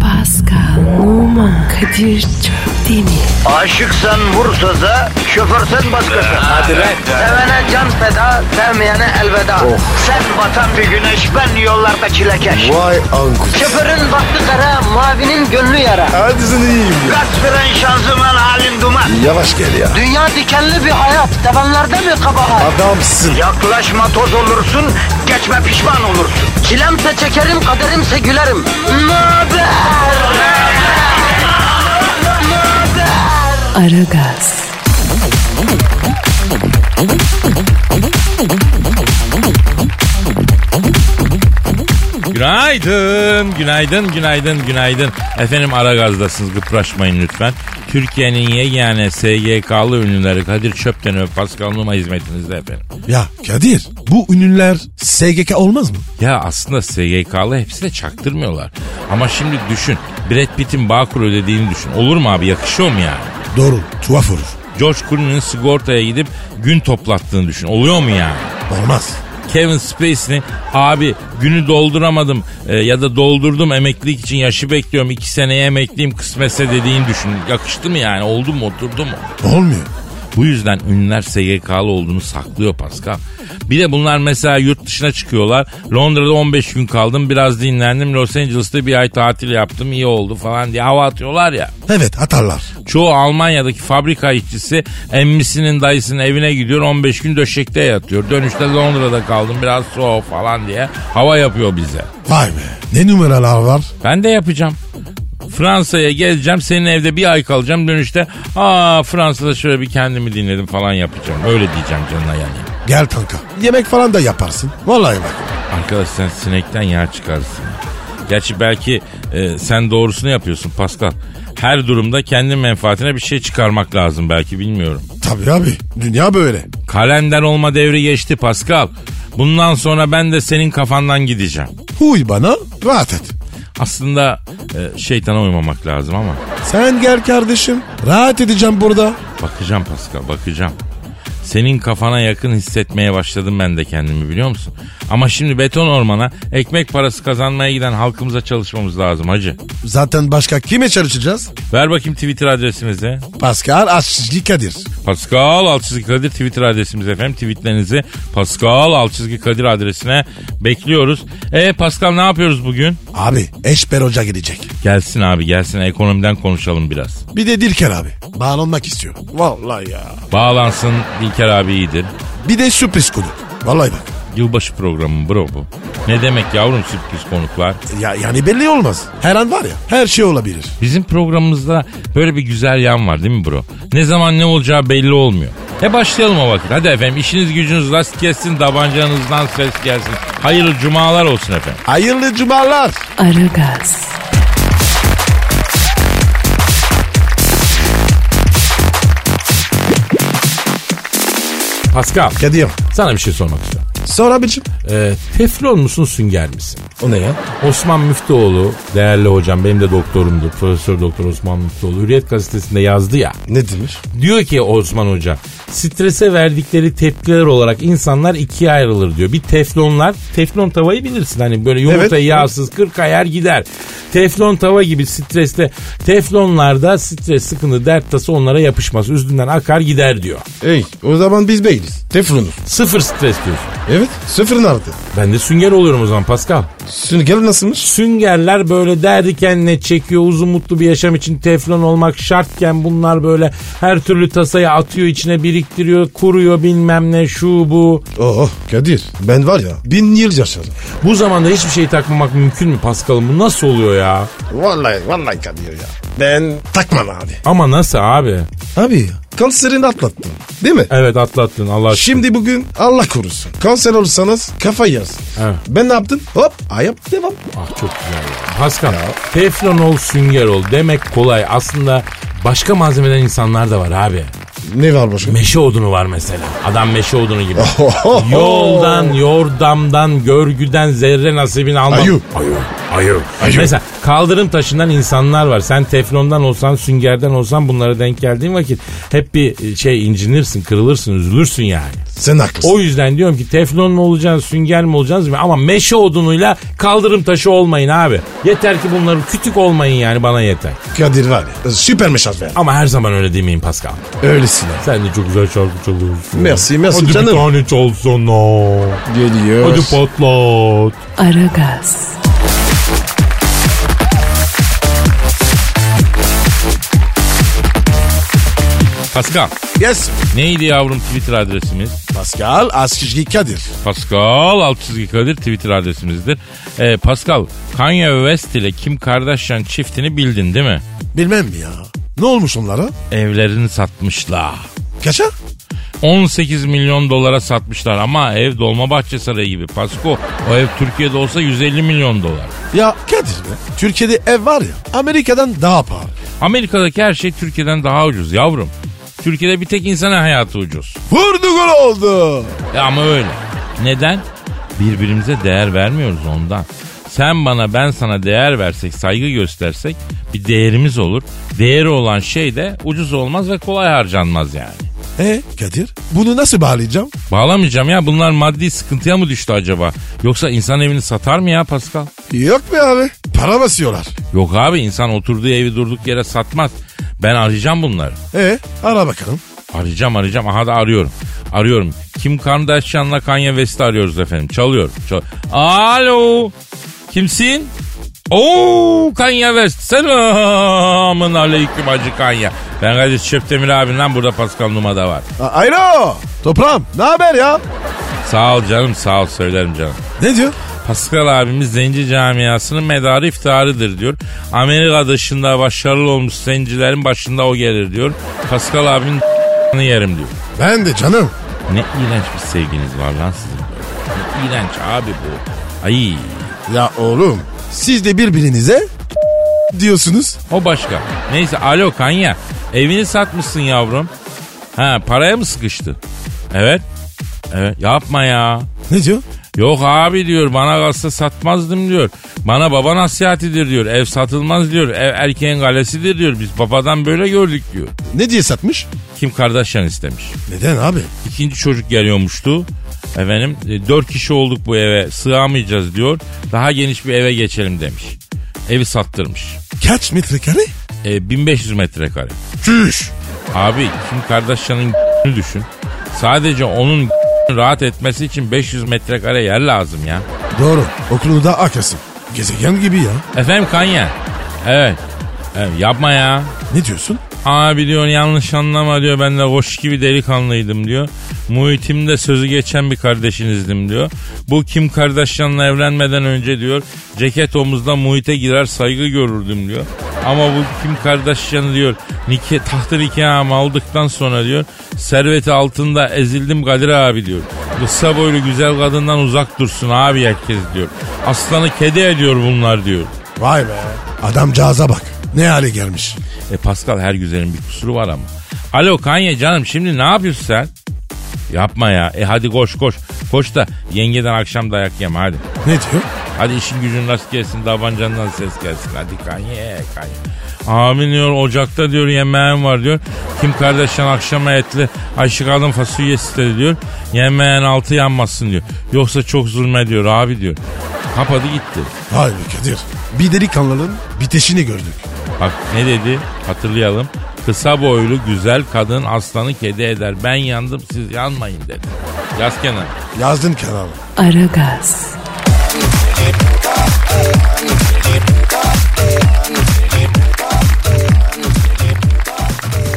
Pascal, Oman, Kadir çok değil mi? Aşıksan vursa da şoförsen başkasın. Hadi lan. Oh. Sevene can feda, sevmeyene elveda. Sen batan bir güneş, ben yollarda çilekeş. Vay anku. Şoförün baktı kara, mavinin gönlü yara. Hadi sen iyiyim ya. Kasperen şanzıman halin duman. Yavaş gel ya. Dünya dikenli bir hayat, sevenlerde mi kabahar? Adamsın. Yaklaşma toz olursun, geçme pişman olursun. Çilemse çekerim, kaderimse gülerim. Möber! Aragaz, Günaydın, günaydın, günaydın, günaydın. Efendim ara gazdasınız gıpraşmayın lütfen. Türkiye'nin yegane SGK'lı ünlüleri Kadir Çöpten ve Pascal Numa hizmetinizde efendim. Ya Kadir bu ünlüler SGK olmaz mı? Ya aslında SGK'lı hepsi de çaktırmıyorlar. Ama şimdi düşün, Brad Pitt'in Bağkur ödediğini düşün. Olur mu abi, yakışıyor mu yani? Doğru tuhaf olur. George Clooney'nin sigortaya gidip gün toplattığını düşün. Oluyor mu yani? Olmaz. Kevin Spacey'nin abi günü dolduramadım e, ya da doldurdum emeklilik için yaşı bekliyorum iki seneye emekliyim kısmetse dediğini düşün. Yakıştı mı yani oldu mu oturdu mu? Olmuyor. Bu yüzden ünlüler SGK'lı olduğunu saklıyor Pascal. Bir de bunlar mesela yurt dışına çıkıyorlar. Londra'da 15 gün kaldım biraz dinlendim. Los Angeles'ta bir ay tatil yaptım iyi oldu falan diye hava atıyorlar ya. Evet atarlar. Çoğu Almanya'daki fabrika işçisi emmisinin dayısının evine gidiyor 15 gün döşekte yatıyor. Dönüşte Londra'da kaldım biraz soğuk falan diye hava yapıyor bize. Vay be ne numaralar var. Ben de yapacağım. Fransa'ya geleceğim senin evde bir ay kalacağım dönüşte aa Fransa'da şöyle bir kendimi dinledim falan yapacağım. Öyle diyeceğim canına yani. Gel kanka yemek falan da yaparsın. Vallahi bak. Arkadaş sen sinekten yağ çıkarsın. Gerçi belki e, sen doğrusunu yapıyorsun Pascal. Her durumda kendi menfaatine bir şey çıkarmak lazım belki bilmiyorum. Tabii abi dünya böyle. Kalender olma devri geçti Pascal. Bundan sonra ben de senin kafandan gideceğim. Huy bana rahat et. Aslında e, şeytana uymamak lazım ama Sen gel kardeşim rahat edeceğim burada. bakacağım Pascal bakacağım. Senin kafana yakın hissetmeye başladım ben de kendimi biliyor musun? Ama şimdi beton ormana ekmek parası kazanmaya giden halkımıza çalışmamız lazım hacı. Zaten başka kime çalışacağız? Ver bakayım Twitter adresinizi. Pascal Aşçı Kadir. Pascal Alçızgı Kadir Twitter adresimiz efendim. Tweetlerinizi Pascal Alçızgı Kadir adresine bekliyoruz. E Pascal ne yapıyoruz bugün? Abi Eşber Hoca gelecek. Gelsin abi gelsin ekonomiden konuşalım biraz. Bir de Dilker abi bağlanmak istiyor. Vallahi ya. Bağlansın İlker abi iyidir. Bir de sürpriz konuk. Vallahi bak. Yılbaşı programı bro bu. Ne demek yavrum sürpriz konuklar? Ya, yani belli olmaz. Her an var ya her şey olabilir. Bizim programımızda böyle bir güzel yan var değil mi bro? Ne zaman ne olacağı belli olmuyor. E başlayalım o vakit. Hadi efendim işiniz gücünüz rast gelsin, tabancanızdan ses gelsin. Hayırlı cumalar olsun efendim. Hayırlı cumalar. Aragaz, Pascal Kadir sana bir şey sormak istiyorum. sor abicim. Ee, teflon musun sünger misin? O ne ya? Osman Müftüoğlu değerli hocam benim de doktorumdu. Profesör Doktor Osman Müftüoğlu Hürriyet gazetesinde yazdı ya. Ne demiş? Diyor ki Osman Hoca strese verdikleri tepkiler olarak insanlar ikiye ayrılır diyor. Bir teflonlar teflon tavayı bilirsin hani böyle yumurta Evet. yağsız kır kayar gider. Teflon tava gibi streste teflonlarda stres sıkıntı dert tası onlara yapışmaz üstünden akar gider diyor. Ey o zaman biz beyliz. Teflonuz. Sıfır stres diyorsun. Evet sıfırın artı. Ben de sünger oluyorum o zaman Pascal. Sünger nasılmış? Süngerler böyle derdi kendine çekiyor uzun mutlu bir yaşam için teflon olmak şartken bunlar böyle her türlü tasayı atıyor içine biriktiriyor kuruyor bilmem ne şu bu. Oh Kadir ben var ya bin yıl yaşadım. Bu zamanda hiçbir şey takmamak mümkün mü Paskal'ım bu nasıl oluyor ya? Vallahi vallahi Kadir ya. Ben takmam abi. Ama nasıl abi? Abi kanserini atlattın değil mi? Evet atlattın Allah aşkına. Şimdi bugün Allah korusun. Kanser olursanız kafa yersin. Evet. Ben ne yaptım? Hop ayıp devam. Ah çok güzel ya. Paskal teflon ol sünger ol demek kolay aslında başka malzemeden insanlar da var abi. Ne var başka? Meşe odunu var mesela. Adam meşe odunu gibi. Ohoho. Yoldan, yordamdan, görgüden zerre nasibini almak. Ayu. Ayu. Ayu. Ayu. Mesela Kaldırım taşından insanlar var. Sen teflondan olsan, süngerden olsan bunlara denk geldiğin vakit hep bir şey incinirsin, kırılırsın, üzülürsün yani. Sen haklısın. O yüzden diyorum ki teflon mu olacaksın, sünger mi olacaksın ama meşe odunuyla kaldırım taşı olmayın abi. Yeter ki bunların kütük olmayın yani bana yeter. Kadir var ya süper mesaj ver. Ama her zaman öyle demeyin Pascal. Öylesine. Sen de çok güzel şarkı çalıyorsun. Merci, merci Hadi canım. bir tane çalsana. Geliyor. Hadi patlat. Aragaz, Pascal. Yes. Neydi yavrum Twitter adresimiz? Pascal Askizgi Kadir. Pascal alt çizgi Kadir Twitter adresimizdir. Ee, Pascal Kanye West ile Kim Kardashian çiftini bildin değil mi? Bilmem mi ya. Ne olmuş onlara? Evlerini satmışlar. Kaça? 18 milyon dolara satmışlar ama ev Dolmabahçe Sarayı gibi. Pasko o ev Türkiye'de olsa 150 milyon dolar. Ya Kadir be. Türkiye'de ev var ya Amerika'dan daha pahalı. Amerika'daki her şey Türkiye'den daha ucuz yavrum. Türkiye'de bir tek insana hayatı ucuz. Vurdu gol oldu. E ama öyle. Neden? Birbirimize değer vermiyoruz ondan. Sen bana ben sana değer versek, saygı göstersek bir değerimiz olur. Değeri olan şey de ucuz olmaz ve kolay harcanmaz yani. E Kadir bunu nasıl bağlayacağım? Bağlamayacağım ya bunlar maddi sıkıntıya mı düştü acaba? Yoksa insan evini satar mı ya Pascal? Yok be abi. Para basıyorlar. Yok abi insan oturduğu evi durduk yere satmaz. Ben arayacağım bunları. E ara bakalım. Arayacağım arayacağım. Aha da arıyorum. Arıyorum. Kim Kardashian'la Kanye West'i arıyoruz efendim. Çalıyor. Çal Alo. Kimsin? Oo Kanye West. Selamın aleyküm Hacı Kanye. Ben Kadir Çöptemir abinden burada Pascal Numa da var. A- Alo. Toprağım ne haber ya? Sağ ol canım sağ ol söylerim canım. Ne diyor? Pascal abimiz zenci camiasının medarı iftiharıdır diyor. Amerika dışında başarılı olmuş zencilerin başında o gelir diyor. Pascal abinin yerim diyor. Ben de canım. Ne iğrenç bir sevginiz var lan sizin. böyle. Ne iğrenç abi bu. Ay Ya oğlum siz de birbirinize diyorsunuz. o başka. Neyse alo Kanya. Evini satmışsın yavrum. Ha paraya mı sıkıştı? Evet. Evet yapma ya. Ne diyor? Yok abi diyor bana kalsa satmazdım diyor. Bana baba nasihatidir diyor. Ev satılmaz diyor. Ev erkeğin kalesidir diyor. Biz babadan böyle gördük diyor. Ne diye satmış? Kim Kardashian istemiş. Neden abi? İkinci çocuk geliyormuştu. Efendim e, dört kişi olduk bu eve sığamayacağız diyor. Daha geniş bir eve geçelim demiş. Evi sattırmış. Kaç metrekare? E, 1500 metrekare. Çüş. Abi Kim Kardashian'ın düşün. Sadece onun rahat etmesi için 500 metrekare yer lazım ya. Doğru. Okulunu da akasın. Gezegen gibi ya. Efendim Kanya. Evet. evet. Yapma ya. Ne diyorsun? Abi diyor yanlış anlama diyor ben de hoş gibi delikanlıydım diyor. Muhitimde sözü geçen bir kardeşinizdim diyor. Bu Kim Kardashian'la evlenmeden önce diyor ceket omuzda muhite girer saygı görürdüm diyor. Ama bu Kim Kardashian diyor nike, tahtı nikahımı aldıktan sonra diyor serveti altında ezildim Kadir abi diyor. Kısa boylu güzel kadından uzak dursun abi herkes diyor. Aslanı kedi ediyor bunlar diyor. Vay be. Adamcağıza bak. Ne hale gelmiş. E Pascal her güzelin bir kusuru var ama. Alo Kanye canım şimdi ne yapıyorsun sen? Yapma ya. E hadi koş koş. Koş da yengeden akşam dayak yeme hadi. Ne diyor? Hadi işin gücün rast gelsin davancandan ses gelsin. Hadi Kanye Kanye. Abi diyor ocakta diyor yemeğim var diyor. Kim kardeşten akşama etli aşık adam fasulye istedi diyor. Yemeğin altı yanmasın diyor. Yoksa çok zulme diyor abi diyor. Kapadı gitti. Vay be Kadir. Bir delikanlının biteşini gördük. Bak ne dedi hatırlayalım. Kısa boylu güzel kadın aslanı kedi eder. Ben yandım siz yanmayın dedi. Yaz kenara. Yazdın kenara. Aragaz,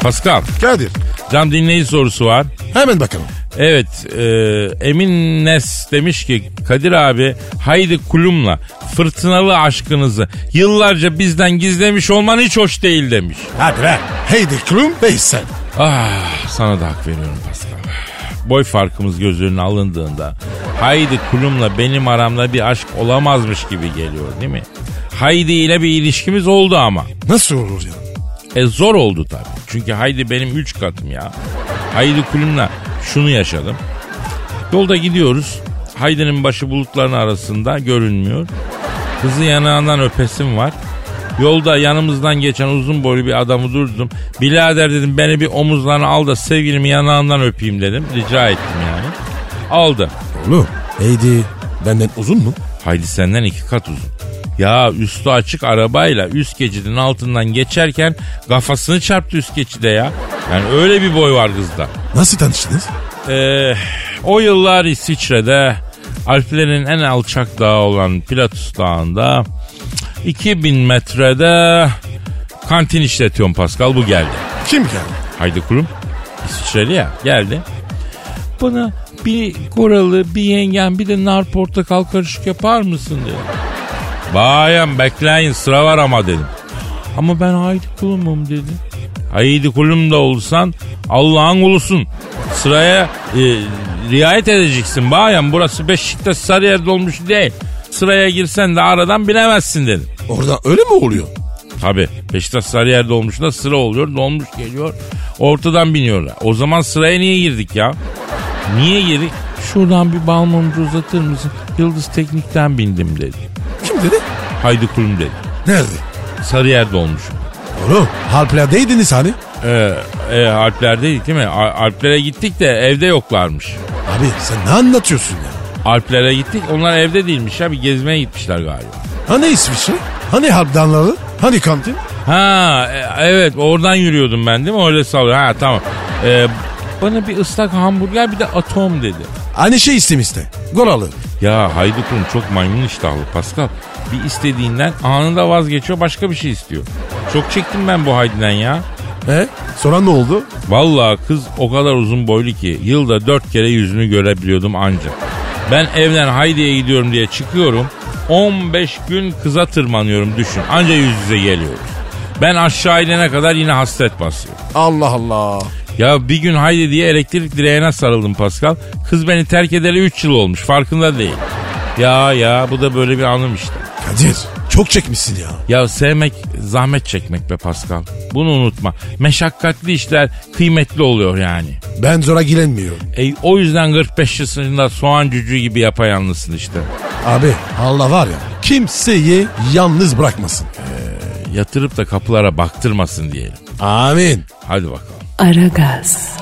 Pascal, Kadir. can dinleyici sorusu var. Hemen bakalım. Evet, e, Emin Nes demiş ki Kadir abi haydi kulumla fırtınalı aşkınızı yıllarca bizden gizlemiş olman hiç hoş değil demiş. Hadi be. Hey de kulum sen. Ah sana da hak veriyorum Pascal. Boy farkımız göz önüne alındığında Haydi kulumla benim aramda bir aşk olamazmış gibi geliyor değil mi? Haydi ile bir ilişkimiz oldu ama. Nasıl olur ya? E zor oldu tabii. Çünkü Haydi benim üç katım ya. Haydi kulümle şunu yaşadım. Yolda gidiyoruz. Haydi'nin başı bulutların arasında görünmüyor. Kızı yanağından öpesim var. Yolda yanımızdan geçen uzun boylu bir adamı durdum. Bilader dedim beni bir omuzlarına al da sevgilimi yanağından öpeyim dedim. Rica ettim yani. Aldı. Oğlum. Heydi. Benden uzun mu? Haydi senden iki kat uzun. Ya üstü açık arabayla üst geçidin altından geçerken kafasını çarptı üst geçide ya. Yani öyle bir boy var kızda. Nasıl tanıştınız? Ee, o yıllar İsviçre'de Alplerin en alçak dağı olan Pilatus Dağı'nda 2000 metrede kantin işletiyorum Pascal bu geldi. Kim geldi? Haydi kurum. İsviçreli ya geldi. Bana bir koralı, bir yengen, bir de nar portakal karışık yapar mısın dedi. Bayan bekleyin sıra var ama dedim. Ama ben haydi kulumum dedi. Haydi kulum da olsan Allah'ın kulusun. Sıraya e, riayet edeceksin bayan burası Beşiktaş Sarıyer dolmuş değil. Sıraya girsen de aradan bilemezsin dedim. Orada öyle mi oluyor? Tabi Beşiktaş Sarıyer dolmuşunda sıra oluyor. Dolmuş geliyor. Ortadan biniyorlar. O zaman sıraya niye girdik ya? Niye girdik? Şuradan bir bal mumcu uzatır mısın? Yıldız Teknik'ten bindim dedi. Kim dedi? Haydi kulum dedi. Nerede? Sarıyer dolmuşum. Oğlum. Harpler'deydiniz hani. Ee, e, Alpler'deydik değil mi? A- Alplere gittik de evde yoklarmış. Abi sen ne anlatıyorsun ya? Alplere gittik onlar evde değilmiş ya bir gezmeye gitmişler galiba. Hani İsviçre? Hani harpdanları? Hani kantin? Ha e- evet oradan yürüyordum ben değil mi? Öyle sallıyor. Ha tamam. Ee, bana bir ıslak hamburger bir de atom dedi. Hani şey istemiste. Goralı. Ya haydutun çok maymun iştahlı Pascal. Bir istediğinden anında vazgeçiyor başka bir şey istiyor. Çok çektim ben bu haydiden ya. He? Sonra ne oldu? Vallahi kız o kadar uzun boylu ki yılda dört kere yüzünü görebiliyordum ancak. Ben evden Haydi'ye gidiyorum diye çıkıyorum. 15 gün kıza tırmanıyorum düşün. Anca yüz yüze geliyoruz. Ben aşağı inene kadar yine hasret basıyor. Allah Allah. Ya bir gün Haydi diye elektrik direğine sarıldım Pascal. Kız beni terk edeli 3 yıl olmuş farkında değil. Ya ya bu da böyle bir anım işte. Kadir çok çekmişsin ya. Ya sevmek zahmet çekmek be Pascal. Bunu unutma. Meşakkatli işler kıymetli oluyor yani. Ben zora girenmiyorum. E, o yüzden 45 yaşında soğan cücüğü gibi yapayalnızsın işte. Abi Allah var ya kimseyi yalnız bırakmasın. Yatırıp da kapılara baktırmasın diyelim. Amin. Hadi bakalım. Aragaz,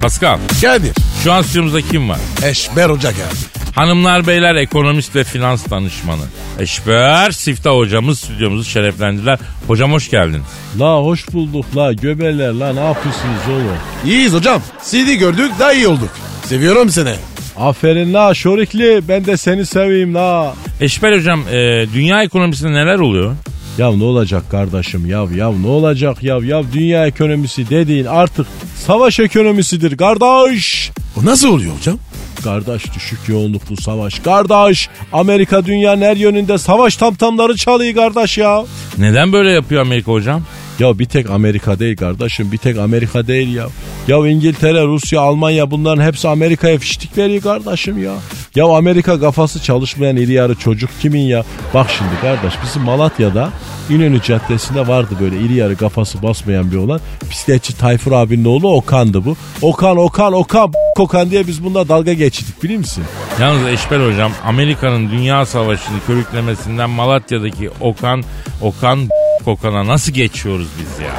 Pascal, Kadir şu an stüdyomuzda kim var? Eşber Hoca geldi. Hanımlar, beyler, ekonomist ve finans danışmanı. Eşber Siftah hocamız stüdyomuzu şereflendiler. Hocam hoş geldiniz. La hoş bulduk la göbeler la ne yapıyorsunuz oğlum? İyiyiz hocam. CD gördük daha iyi olduk. Seviyorum seni. Aferin la şorikli ben de seni seveyim la. Eşber hocam, e, dünya ekonomisinde neler oluyor? Ya ne olacak kardeşim yav yav ne olacak yav yav dünya ekonomisi dediğin artık savaş ekonomisidir kardeş. O nasıl oluyor hocam? Kardeş düşük yoğunluklu savaş kardeş. Amerika dünyanın her yönünde savaş tamtamları çalıyor kardeş ya. Neden böyle yapıyor Amerika hocam? Ya bir tek Amerika değil kardeşim bir tek Amerika değil ya. Ya İngiltere, Rusya, Almanya bunların hepsi Amerika'ya fiştik veriyor kardeşim ya. Ya Amerika kafası çalışmayan iri yarı çocuk kimin ya? Bak şimdi kardeş bizim Malatya'da İnönü Caddesi'nde vardı böyle iri yarı kafası basmayan bir olan. Bisikletçi Tayfur abinin oğlu Okan'dı bu. Okan, Okan, Okan, Okan diye biz bununla dalga geçirdik biliyor musun? Yalnız Eşber hocam Amerika'nın dünya savaşını körüklemesinden Malatya'daki Okan Okan Okan'a nasıl geçiyoruz biz ya?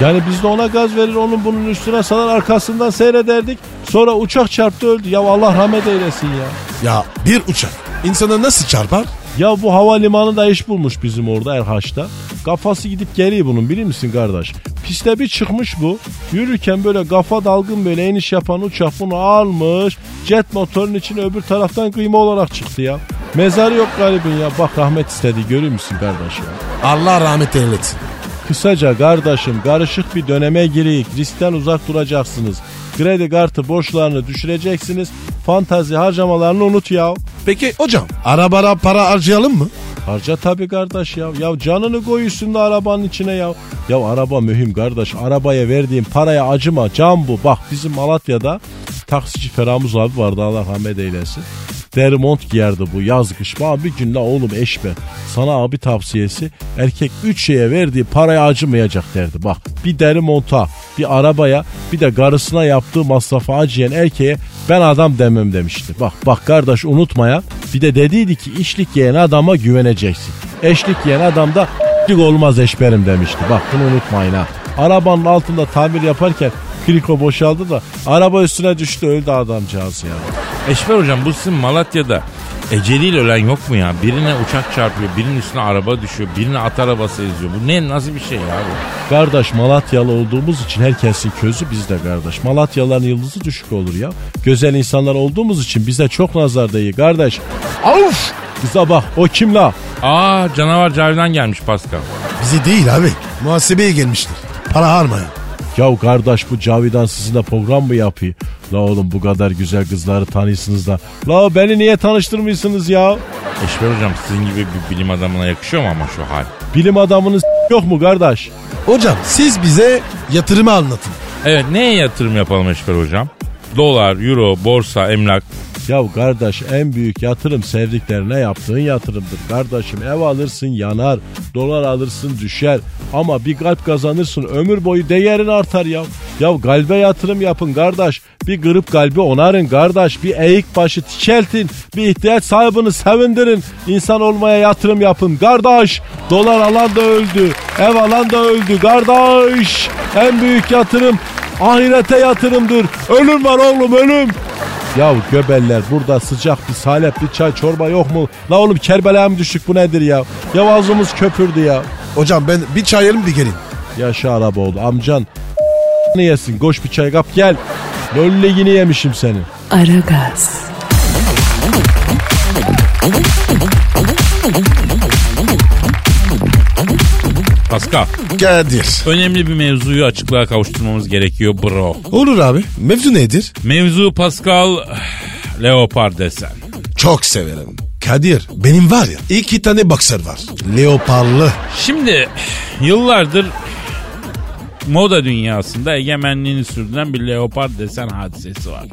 Yani Hani biz de ona gaz verir onun bunun üstüne salar arkasından seyrederdik. Sonra uçak çarptı öldü. Ya Allah rahmet eylesin ya. Ya bir uçak insana nasıl çarpar? Ya bu havalimanı da iş bulmuş bizim orada Erhaç'ta. Kafası gidip geliyor bunun biliyor musun kardeş? Piste bir çıkmış bu. Yürürken böyle kafa dalgın böyle iniş yapan uçak bunu almış. Jet motorun içine öbür taraftan kıyma olarak çıktı ya. Mezarı yok garibin ya. Bak rahmet istedi görüyor musun kardeş ya? Allah rahmet eylesin. Kısaca kardeşim karışık bir döneme gireyik. Riskten uzak duracaksınız. Kredi kartı borçlarını düşüreceksiniz. Fantazi harcamalarını unut ya. Peki hocam arabara para harcayalım mı? Harca tabii kardeş ya. Ya canını koy üstünde arabanın içine ya. Ya araba mühim kardeş. Arabaya verdiğin paraya acıma. Can bu. Bak bizim Malatya'da taksici Feramuz abi vardı Allah rahmet eylesin. deri mont giyerdi bu yaz kış. Bana bir gün la oğlum eşme. Sana abi tavsiyesi erkek üç şeye verdiği paraya acımayacak derdi. Bak bir deri monta, bir arabaya, bir de karısına yaptığı masrafa acıyan erkeğe ben adam demem demişti. Bak bak kardeş unutmaya. Bir de dediydi ki işlik yiyen adama güveneceksin. Eşlik yiyen adam da "Lik olmaz eşberim demişti. Bak bunu unutmayın ha. Arabanın altında tamir yaparken kriko boşaldı da araba üstüne düştü öldü adamcağız ya. Eşber hocam bu sizin Malatya'da eceliyle ölen yok mu ya? Birine uçak çarpıyor, birinin üstüne araba düşüyor, birine at arabası eziyor. Bu ne nasıl bir şey ya bu? Kardeş Malatyalı olduğumuz için herkesin közü bizde kardeş. Malatyalıların yıldızı düşük olur ya. Güzel insanlar olduğumuz için bize çok nazar değiyor kardeş. Avf! Kıza bak o kim la? Aa canavar Cavidan gelmiş Pascal. Bizi değil abi. Muhasebeye gelmiştir. Para harmaya. Ya kardeş bu Cavidan sizinle program mı yapıyor? La oğlum bu kadar güzel kızları tanıyorsunuz da. La beni niye tanıştırmıyorsunuz ya? Eşber hocam sizin gibi bir bilim adamına yakışıyor mu ama şu hal? Bilim adamınız yok mu kardeş? Hocam siz bize yatırımı anlatın. Evet neye yatırım yapalım Eşber hocam? Dolar, euro, borsa, emlak. Ya kardeş en büyük yatırım sevdiklerine yaptığın yatırımdır. Kardeşim ev alırsın yanar, dolar alırsın düşer ama bir kalp kazanırsın ömür boyu değerin artar ya. Ya kalbe yatırım yapın kardeş. Bir kırıp kalbi onarın kardeş. Bir eğik başı tikeltin. Bir ihtiyaç sahibini sevindirin. İnsan olmaya yatırım yapın kardeş. Dolar alan da öldü. Ev alan da öldü kardeş. En büyük yatırım ahirete yatırımdır. Ölüm var oğlum ölüm. Ya göbeller burada sıcak bir salep bir çay çorba yok mu? La oğlum Kerbela'ya mı düştük bu nedir ya? Ya ağzımız köpürdü ya. Hocam ben bir çay alayım bir geleyim. Yaşa Araboğlu amcan ne yesin koş bir çay kap gel. Lolligini yemişim seni. Aragaz, Pascal, Kadir. önemli bir mevzuyu açıklığa kavuşturmamız gerekiyor bro. Olur abi. Mevzu nedir? Mevzu Pascal Leopard desen. Çok severim. Kadir benim var ya iki tane boxer var. Leoparlı. Şimdi yıllardır moda dünyasında egemenliğini sürdüren bir leopar desen hadisesi var.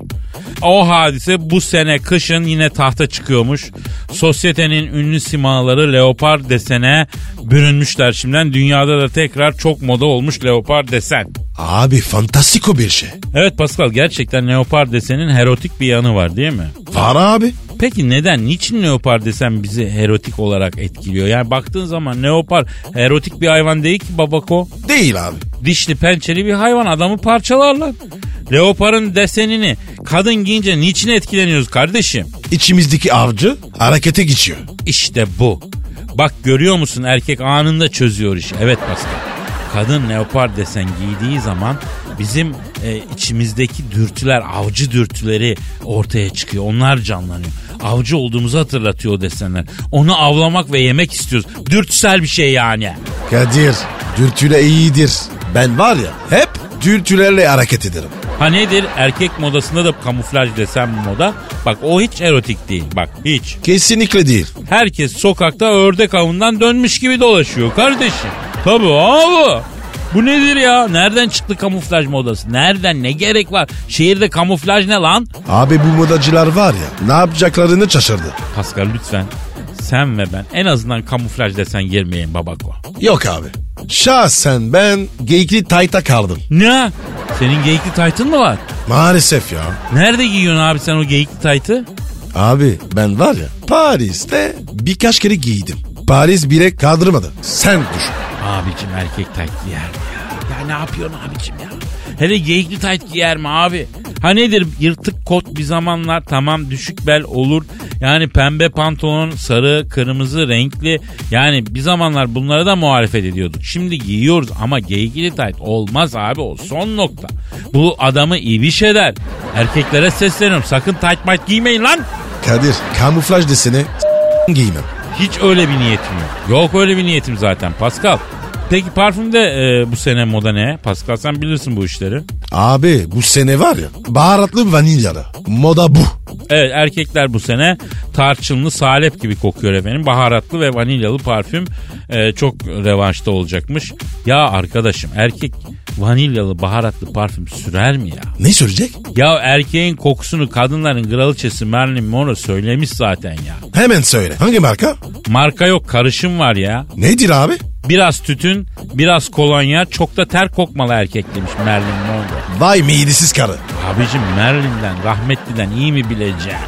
O hadise bu sene kışın yine tahta çıkıyormuş. Sosyetenin ünlü simaları leopar desene bürünmüşler şimdiden. Dünyada da tekrar çok moda olmuş leopar desen. Abi fantastiko bir şey. Evet Pascal gerçekten leopar desenin erotik bir yanı var değil mi? Var abi. Peki neden? Niçin leopar desen bizi erotik olarak etkiliyor? Yani baktığın zaman leopar erotik bir hayvan değil ki babako. Değil abi. Dişli pençeli bir hayvan adamı parçalarlar. Leoparın desenini kadın giyince niçin etkileniyoruz kardeşim? İçimizdeki avcı harekete geçiyor. İşte bu. Bak görüyor musun erkek anında çözüyor işi. Evet Pascal. Kadın leopar desen giydiği zaman bizim e, içimizdeki dürtüler, avcı dürtüleri ortaya çıkıyor. Onlar canlanıyor. Avcı olduğumuzu hatırlatıyor o desenler. Onu avlamak ve yemek istiyoruz. Dürtüsel bir şey yani. Kadir dürtüyle iyidir. Ben var ya hep dürtülerle hareket ederim. Ha nedir? Erkek modasında da kamuflaj desen bu moda. Bak o hiç erotik değil. Bak hiç. Kesinlikle değil. Herkes sokakta ördek avından dönmüş gibi dolaşıyor kardeşim. Tabii abi. Bu nedir ya? Nereden çıktı kamuflaj modası? Nereden? Ne gerek var? Şehirde kamuflaj ne lan? Abi bu modacılar var ya ne yapacaklarını şaşırdı. Pascal lütfen. Sen ve ben en azından kamuflaj desen girmeyin babako. Yok abi. Şahsen ben geyikli tayta kaldım. Ne? Senin geyikli taytın mı var? Maalesef ya. Nerede giyiyorsun abi sen o geyikli taytı? Abi ben var ya Paris'te birkaç kere giydim. Paris bile kaldırmadı. Sen düşün. Abicim erkek tayt giyer mi ya? Ya ne yapıyorsun abicim ya? Hele geyikli tayt giyer mi abi? Ha nedir yırtık kot bir zamanlar tamam düşük bel olur. Yani pembe pantolon, sarı, kırmızı, renkli. Yani bir zamanlar bunlara da muhalefet ediyorduk. Şimdi giyiyoruz ama geyikli tayt olmaz abi o son nokta. Bu adamı ibiş eder. Erkeklere sesleniyorum sakın tayt mayt giymeyin lan. Kadir kamuflaj desene giymem. Hiç öyle bir niyetim yok. Yok öyle bir niyetim zaten Pascal. Peki parfümde e, bu sene moda ne? Pascal sen bilirsin bu işleri. Abi bu sene var ya baharatlı vanilyalı. Moda bu. Evet erkekler bu sene tarçınlı salep gibi kokuyor efendim. Baharatlı ve vanilyalı parfüm e, çok revanşta olacakmış. Ya arkadaşım erkek vanilyalı baharatlı parfüm sürer mi ya? Ne söyleyecek? Ya erkeğin kokusunu kadınların kraliçesi Marilyn Monroe söylemiş zaten ya. Hemen söyle. Hangi marka? Marka yok karışım var ya. Nedir abi? Biraz tütün, biraz kolonya, çok da ter kokmalı erkek demiş Marilyn Monroe. Vay midesiz karı. Abicim Merlin'den, rahmetliden iyi mi bileceğim?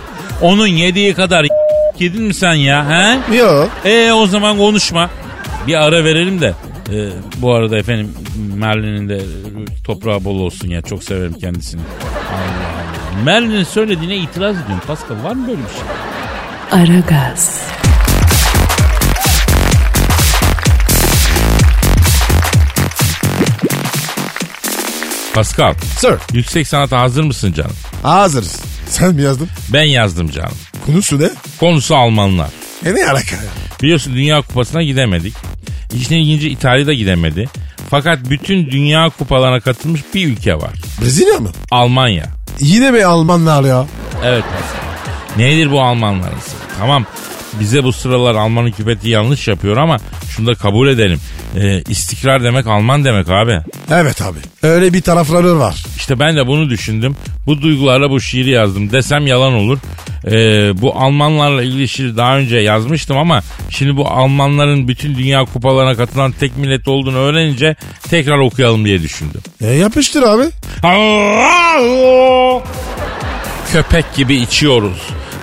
Onun yediği kadar yedin mi sen ya? He? Yo. E o zaman konuşma. Bir ara verelim de. e, bu arada efendim Merlin'in de toprağı bol olsun ya. Çok severim kendisini. Allah Allah. Merlin'in söylediğine itiraz ediyorum. Pascal var mı böyle bir şey? Aragaz, Pascal, Sir. yüksek sanata hazır mısın canım? Hazırız. Sen mi yazdın? Ben yazdım canım. Konusu ne? Konusu Almanlar. E ne alaka? Biliyorsun Dünya Kupası'na gidemedik. İşin ilginci İtalya'da gidemedi. Fakat bütün Dünya Kupalarına katılmış bir ülke var. Brezilya mı? Almanya. Yine mi Almanlar ya? Evet Pascal. Nedir bu Almanların sırrı? Tamam bize bu sıralar Alman hükümeti yanlış yapıyor ama şunu da kabul edelim. Ee, istikrar demek Alman demek abi. Evet abi. Öyle bir tarafları var. İşte ben de bunu düşündüm. Bu duygularla bu şiiri yazdım. Desem yalan olur. Ee, bu Almanlarla ilgili şiiri daha önce yazmıştım ama şimdi bu Almanların bütün dünya kupalarına katılan tek millet olduğunu öğrenince tekrar okuyalım diye düşündüm. E yapıştır abi. Köpek gibi içiyoruz.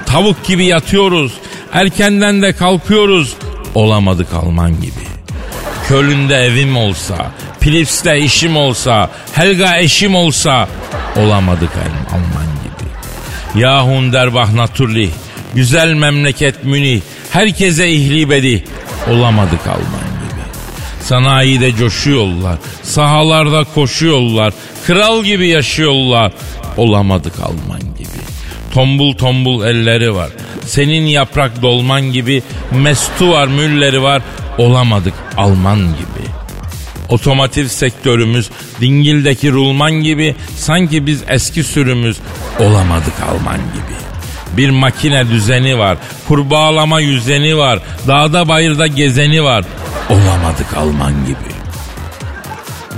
Tavuk gibi yatıyoruz. Erkenden de kalkıyoruz. Olamadık Alman gibi. Kölün'de evim olsa, Plips'te işim olsa, Helga eşim olsa olamadık Al- Alman gibi. Yahun derbah naturli, güzel memleket münih, herkese ihlibedi. Olamadık Alman gibi. Sanayide coşuyorlar, sahalarda koşuyorlar, kral gibi yaşıyorlar. Olamadık Alman gibi. Tombul tombul elleri var. Senin yaprak dolman gibi mestu var, mülleri var. Olamadık Alman gibi. Otomotiv sektörümüz dingildeki rulman gibi sanki biz eski sürümüz olamadık Alman gibi. Bir makine düzeni var, kurbağalama yüzeni var, dağda bayırda gezeni var. Olamadık Alman gibi.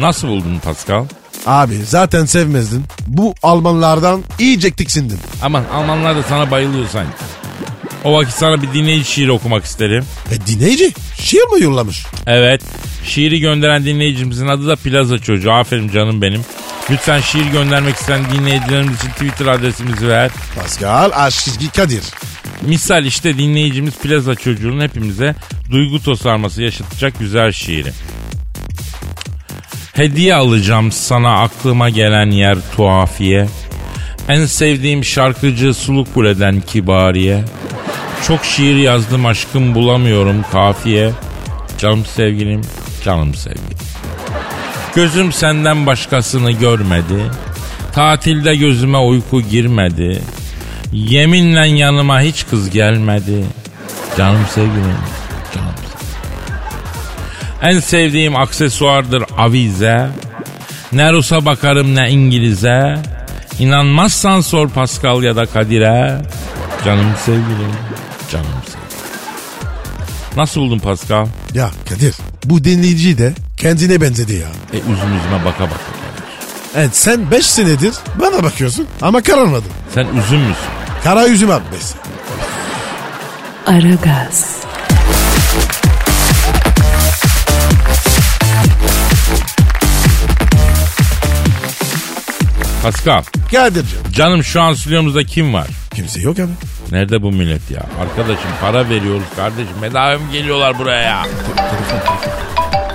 Nasıl buldun Pascal? Abi zaten sevmezdin. Bu Almanlardan iyice tiksindin. Aman Almanlar da sana bayılıyor sanki. O vakit sana bir dinleyici şiiri okumak isterim. E dinleyici şiir mi yollamış? Evet. Şiiri gönderen dinleyicimizin adı da Plaza Çocuğu. Aferin canım benim. Lütfen şiir göndermek isteyen dinleyicilerimiz için Twitter adresimizi ver. Pascal Aşkizgi Kadir. Misal işte dinleyicimiz Plaza Çocuğu'nun hepimize duygu tosarması yaşatacak güzel şiiri. Hediye alacağım sana aklıma gelen yer tuhafiye. En sevdiğim şarkıcı Sulu Kule'den Kibariye. Çok şiir yazdım aşkım bulamıyorum kafiye. Canım sevgilim, canım sevgilim. Gözüm senden başkasını görmedi. Tatilde gözüme uyku girmedi. Yeminle yanıma hiç kız gelmedi. Canım sevgilim, canım sevgilim. En sevdiğim aksesuardır avize. Ne Rus'a bakarım ne İngiliz'e. İnanmazsan sor Pascal ya da Kadir'e. Canım sevgilim, canım sevgilim. Nasıl buldun Pascal? Ya Kadir bu dinleyici de kendine benzedi ya. E üzüm üzüme baka baka. Evet sen 5 senedir bana bakıyorsun ama kararmadın. Sen üzüm müsün? Kara yüzüm abbesi. Aragaz, Pascal, Kadir'cim. canım şu an stüdyomuzda kim var? Kimse yok abi. Nerede bu millet ya? Arkadaşım para veriyoruz kardeşim. Bedava mı geliyorlar buraya?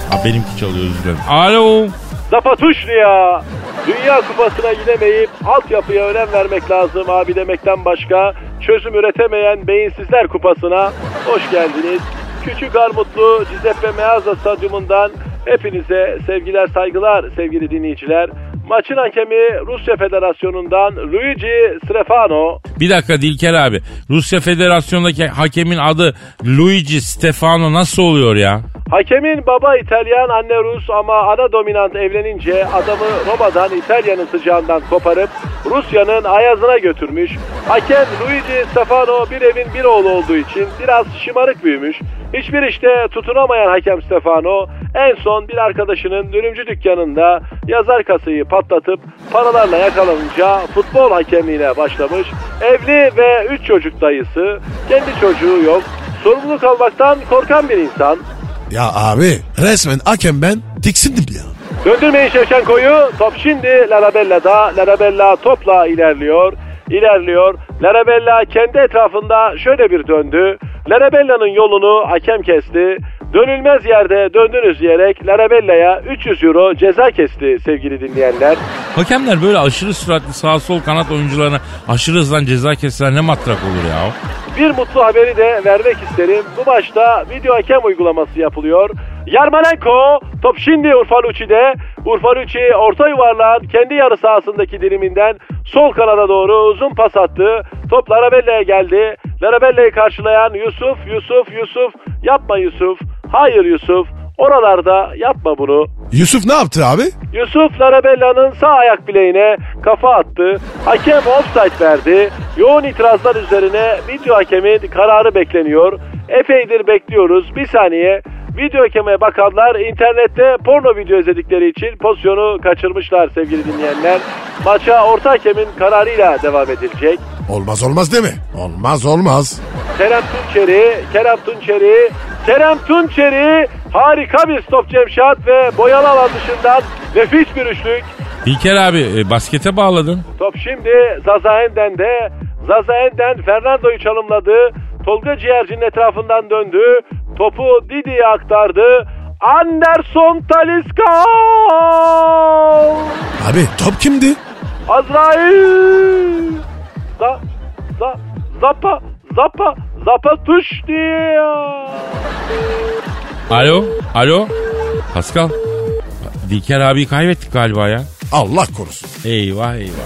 Ha benimki çalıyor özür dilerim. Alo. Zapatuşlu ya. Dünya kupasına gidemeyip altyapıya önem vermek lazım abi demekten başka çözüm üretemeyen beyinsizler kupasına hoş geldiniz. Küçük Armutlu Giuseppe Meazza stadyumundan hepinize sevgiler saygılar sevgili dinleyiciler. Maçın hakemi Rusya Federasyonu'ndan Luigi Strefano. Bir dakika Dilker abi. Rusya Federasyonu'ndaki hakemin adı Luigi Stefano nasıl oluyor ya? Hakemin baba İtalyan anne Rus ama ana dominant evlenince adamı Roma'dan İtalya'nın sıcağından koparıp Rusya'nın ayazına götürmüş. Hakem Luigi Stefano bir evin bir oğlu olduğu için biraz şımarık büyümüş. Hiçbir işte tutunamayan hakem Stefano en son bir arkadaşının dürümcü dükkanında yazar kasayı patlatıp paralarla yakalanınca futbol hakemliğine başlamış. Evli ve 3 çocuk dayısı, kendi çocuğu yok, sorumluluk almaktan korkan bir insan. Ya abi resmen hakem ben tiksindim ya. Döndürmeyin Şevçenko'yu. Top şimdi Larabella'da. Larabella topla ilerliyor. İlerliyor. Larabella kendi etrafında şöyle bir döndü. Larabella'nın yolunu hakem kesti. Dönülmez yerde döndünüz diyerek Larabella'ya 300 euro ceza kesti sevgili dinleyenler. Hakemler böyle aşırı süratli sağ sol kanat oyuncularına aşırı hızlan ceza kesseler ne matrak olur ya. Bir mutlu haberi de vermek isterim. Bu maçta video hakem uygulaması yapılıyor. Yarmalenko top şimdi Urfalucci'de. Urfalucci orta yuvarlağın kendi yarı sahasındaki diliminden sol kanada doğru uzun pas attı. Top Larabella'ya geldi. Larabella'yı karşılayan Yusuf, Yusuf, Yusuf. Yapma Yusuf. Hayır Yusuf. Oralarda yapma bunu. Yusuf ne yaptı abi? Yusuf Larabella'nın sağ ayak bileğine kafa attı. Hakem offside verdi. Yoğun itirazlar üzerine video hakemin kararı bekleniyor. Epeydir bekliyoruz. Bir saniye. Video hakeme bakanlar internette porno video izledikleri için pozisyonu kaçırmışlar sevgili dinleyenler. Maça orta hakemin kararıyla devam edilecek. Olmaz olmaz değil mi? Olmaz olmaz. Kerem Tunçeri, Kerem Tunçeri, Kerem Tunçeri harika bir stop Cemşat ve boyalı alan dışından nefis bir üçlük. Dilker abi e, baskete bağladın. Top şimdi Zazaen'den de Zazaen'den Fernando'yu çalımladı. Tolga Ciğerci'nin etrafından döndü. Topu Didi'ye aktardı. Anderson Talisca! Abi top kimdi? Azrail! Za, za, zapa, zapa, zapa tuş diyor. Alo, alo. Pascal. Dilker abiyi kaybettik galiba ya. Allah korusun. Eyvah eyvah.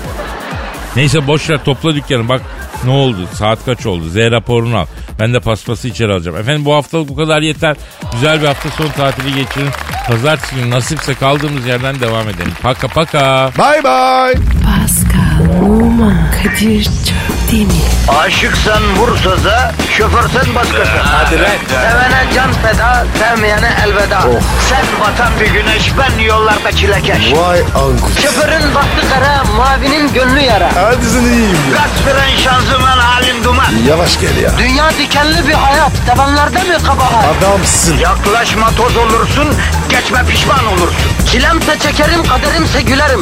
Neyse boş ver topla dükkanı bak ne oldu saat kaç oldu Z raporunu al. Ben de paspası içeri alacağım. Efendim bu haftalık bu kadar yeter. Güzel bir hafta sonu tatili geçirin. Pazartesi günü nasipse kaldığımız yerden devam edelim. Paka paka. Bye bye. Pascal, Oman, Kadir çok değil mi? Aşıksan vursa da şoförsen başkasın. Hadi be. Sevene can feda, sevmeyene elveda. Sen batan bir güneş, ben yollarda çilekeş. Vay anku. Şoförün baktı kara, mavinin gönlü yara. Hadi sen iyiyim ya. Kasperen şanzıman halin duman. Yavaş gel ya. Dünya dikenli bir hayat, sevenlerde mi kabahar? Adamsın. Yaklaşma toz olursun, geçme pişman olursun. Çilemse çekerim, kaderimse gülerim.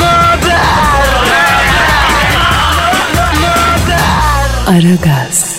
Möber! Aragaz.